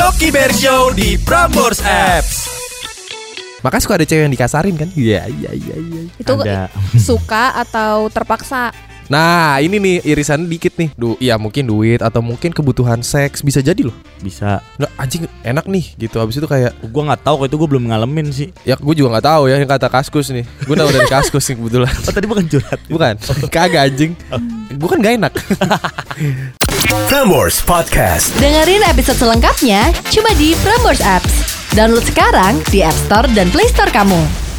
Oki Bear Show di Prambors Apps. Makanya suka ada cewek yang dikasarin kan? Iya, iya, iya, iya. Itu Ada. suka atau terpaksa? Nah, ini nih irisan dikit nih. Du, ya mungkin duit atau mungkin kebutuhan seks bisa jadi loh. Bisa. Nah, anjing enak nih gitu. Habis itu kayak Gua nggak tahu kalau itu gua belum ngalamin sih. ya gue juga nggak tahu ya yang kata kaskus nih. Gue tahu dari kaskus nih kebetulan. Oh, tadi bukan curhat. Bukan, kagak anjing. Gue kan gak enak. Prambors Podcast. Dengerin episode selengkapnya cuma di Prambors Apps. Download sekarang di App Store dan Play Store kamu.